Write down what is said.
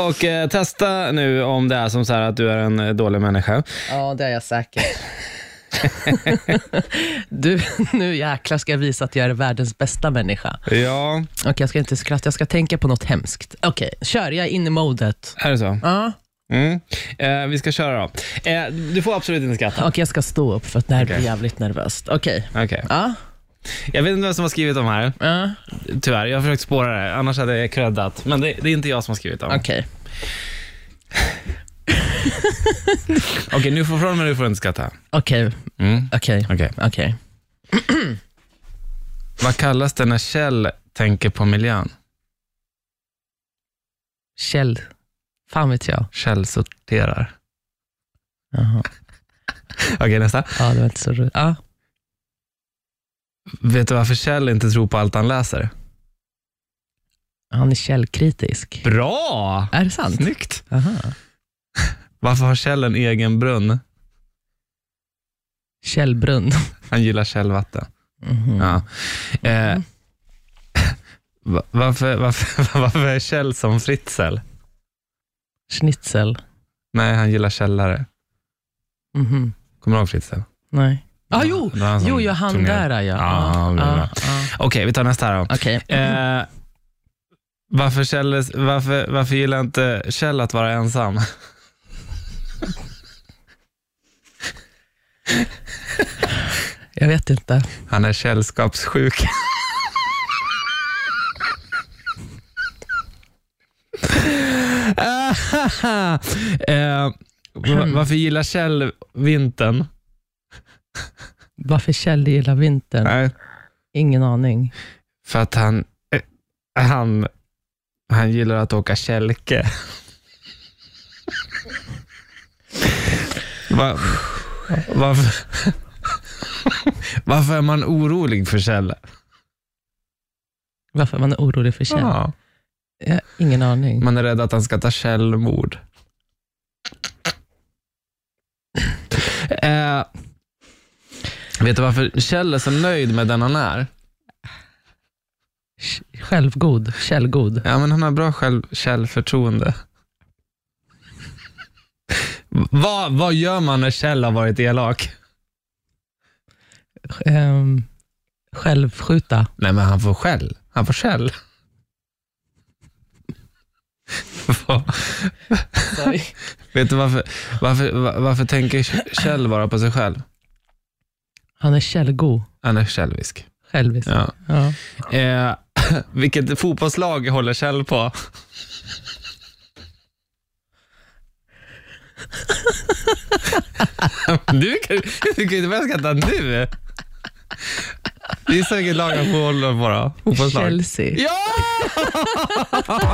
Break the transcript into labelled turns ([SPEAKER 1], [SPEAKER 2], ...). [SPEAKER 1] Och eh, testa nu om det är som så här att du är en eh, dålig människa.
[SPEAKER 2] Ja, det är jag säkert. du, nu jäklar ska jag visa att jag är världens bästa människa.
[SPEAKER 1] Ja,
[SPEAKER 2] Okej, jag ska inte skratta, jag ska tänka på något hemskt. Okej, kör, jag är inne i modet.
[SPEAKER 1] är det så?
[SPEAKER 2] Ja.
[SPEAKER 1] Mm. Eh, vi ska köra då. Eh, du får absolut inte skratta.
[SPEAKER 2] Okej, jag ska stå upp för att det här blir
[SPEAKER 1] Okej.
[SPEAKER 2] jävligt nervöst. Okej.
[SPEAKER 1] Okej.
[SPEAKER 2] Ja,
[SPEAKER 1] Jag vet inte vem som har skrivit dem här,
[SPEAKER 2] ja,
[SPEAKER 1] tyvärr. Jag har försökt spåra det, annars hade jag creddat. Men det, det är inte jag som har skrivit dem. Okej,
[SPEAKER 2] okej.
[SPEAKER 1] nu får från och med nu får du inte skratta.
[SPEAKER 2] Okej,
[SPEAKER 1] Mm.
[SPEAKER 2] okej,
[SPEAKER 1] Okej.
[SPEAKER 2] okej.
[SPEAKER 1] Vad kallas det när Kjell tänker på miljön?
[SPEAKER 2] Kjell. Fan vet jag.
[SPEAKER 1] Kjell sorterar.
[SPEAKER 2] Jaha.
[SPEAKER 1] Okej, nästa.
[SPEAKER 2] Ja, det var inte så roligt. Ja.
[SPEAKER 1] Vet du varför Kjell inte tror på allt han läser?
[SPEAKER 2] Han är källkritisk.
[SPEAKER 1] Bra!
[SPEAKER 2] Är det sant?
[SPEAKER 1] Snyggt.
[SPEAKER 2] Aha.
[SPEAKER 1] Varför har Kjell en egen brunn?
[SPEAKER 2] Källbrunn.
[SPEAKER 1] Han gillar källvatten.
[SPEAKER 2] Mhm.
[SPEAKER 1] Ja. Eh, va- varför, varför, varför är Kjell som Fritzl?
[SPEAKER 2] Schnitzel.
[SPEAKER 1] Nej, han gillar källare.
[SPEAKER 2] Mhm.
[SPEAKER 1] Kommer du ihåg Fritzl?
[SPEAKER 2] Nej. Ah,
[SPEAKER 1] Ja,
[SPEAKER 2] jo,
[SPEAKER 1] det var han som
[SPEAKER 2] jo, ja, han
[SPEAKER 1] turnerade.
[SPEAKER 2] där ja. ja.
[SPEAKER 1] Ja, bra, bra.
[SPEAKER 2] ja.
[SPEAKER 1] Okej, vi tar nästa här då.
[SPEAKER 2] Okej.
[SPEAKER 1] Eh, varför, Kjell, varför, varför gillar inte Kjell att vara ensam?
[SPEAKER 2] Jag vet inte.
[SPEAKER 1] Han är källskapssjuk. eh, va- varför gillar Kjell vintern?
[SPEAKER 2] Varför Kjell gillar vintern?
[SPEAKER 1] Nej.
[SPEAKER 2] Ingen aning.
[SPEAKER 1] För att han, eh, han, han gillar att åka kälke. Va, varför, varför är man orolig för Kjell?
[SPEAKER 2] Varför man är orolig för Kjell?
[SPEAKER 1] Ja.
[SPEAKER 2] Ja, ingen aning.
[SPEAKER 1] Man är rädd att han ska ta självmord. Eh, vet du varför Kjell är så nöjd med den han är?
[SPEAKER 2] Sh- Självgod. Källgod.
[SPEAKER 1] Ja, men han har bra själv, källförtroende. vad, vad gör man när Kjell har varit elak?
[SPEAKER 2] Ehm, självskjuta.
[SPEAKER 1] Nej, men han får skäll. Han får skäll. Vad- Vet du varför, varför, va- varför tänker Kjell bara på sig själv?
[SPEAKER 2] Han är källgod.
[SPEAKER 1] Han är självisk.
[SPEAKER 2] Självisk.
[SPEAKER 1] Ja.
[SPEAKER 2] Ja.
[SPEAKER 1] Eh, vilket fotbollslag håller Kjell på? du, kan, du kan ju inte börja skratta nu. Gissa vilket lag han håller på då? Fotbollslag.
[SPEAKER 2] Chelsea.
[SPEAKER 1] Ja!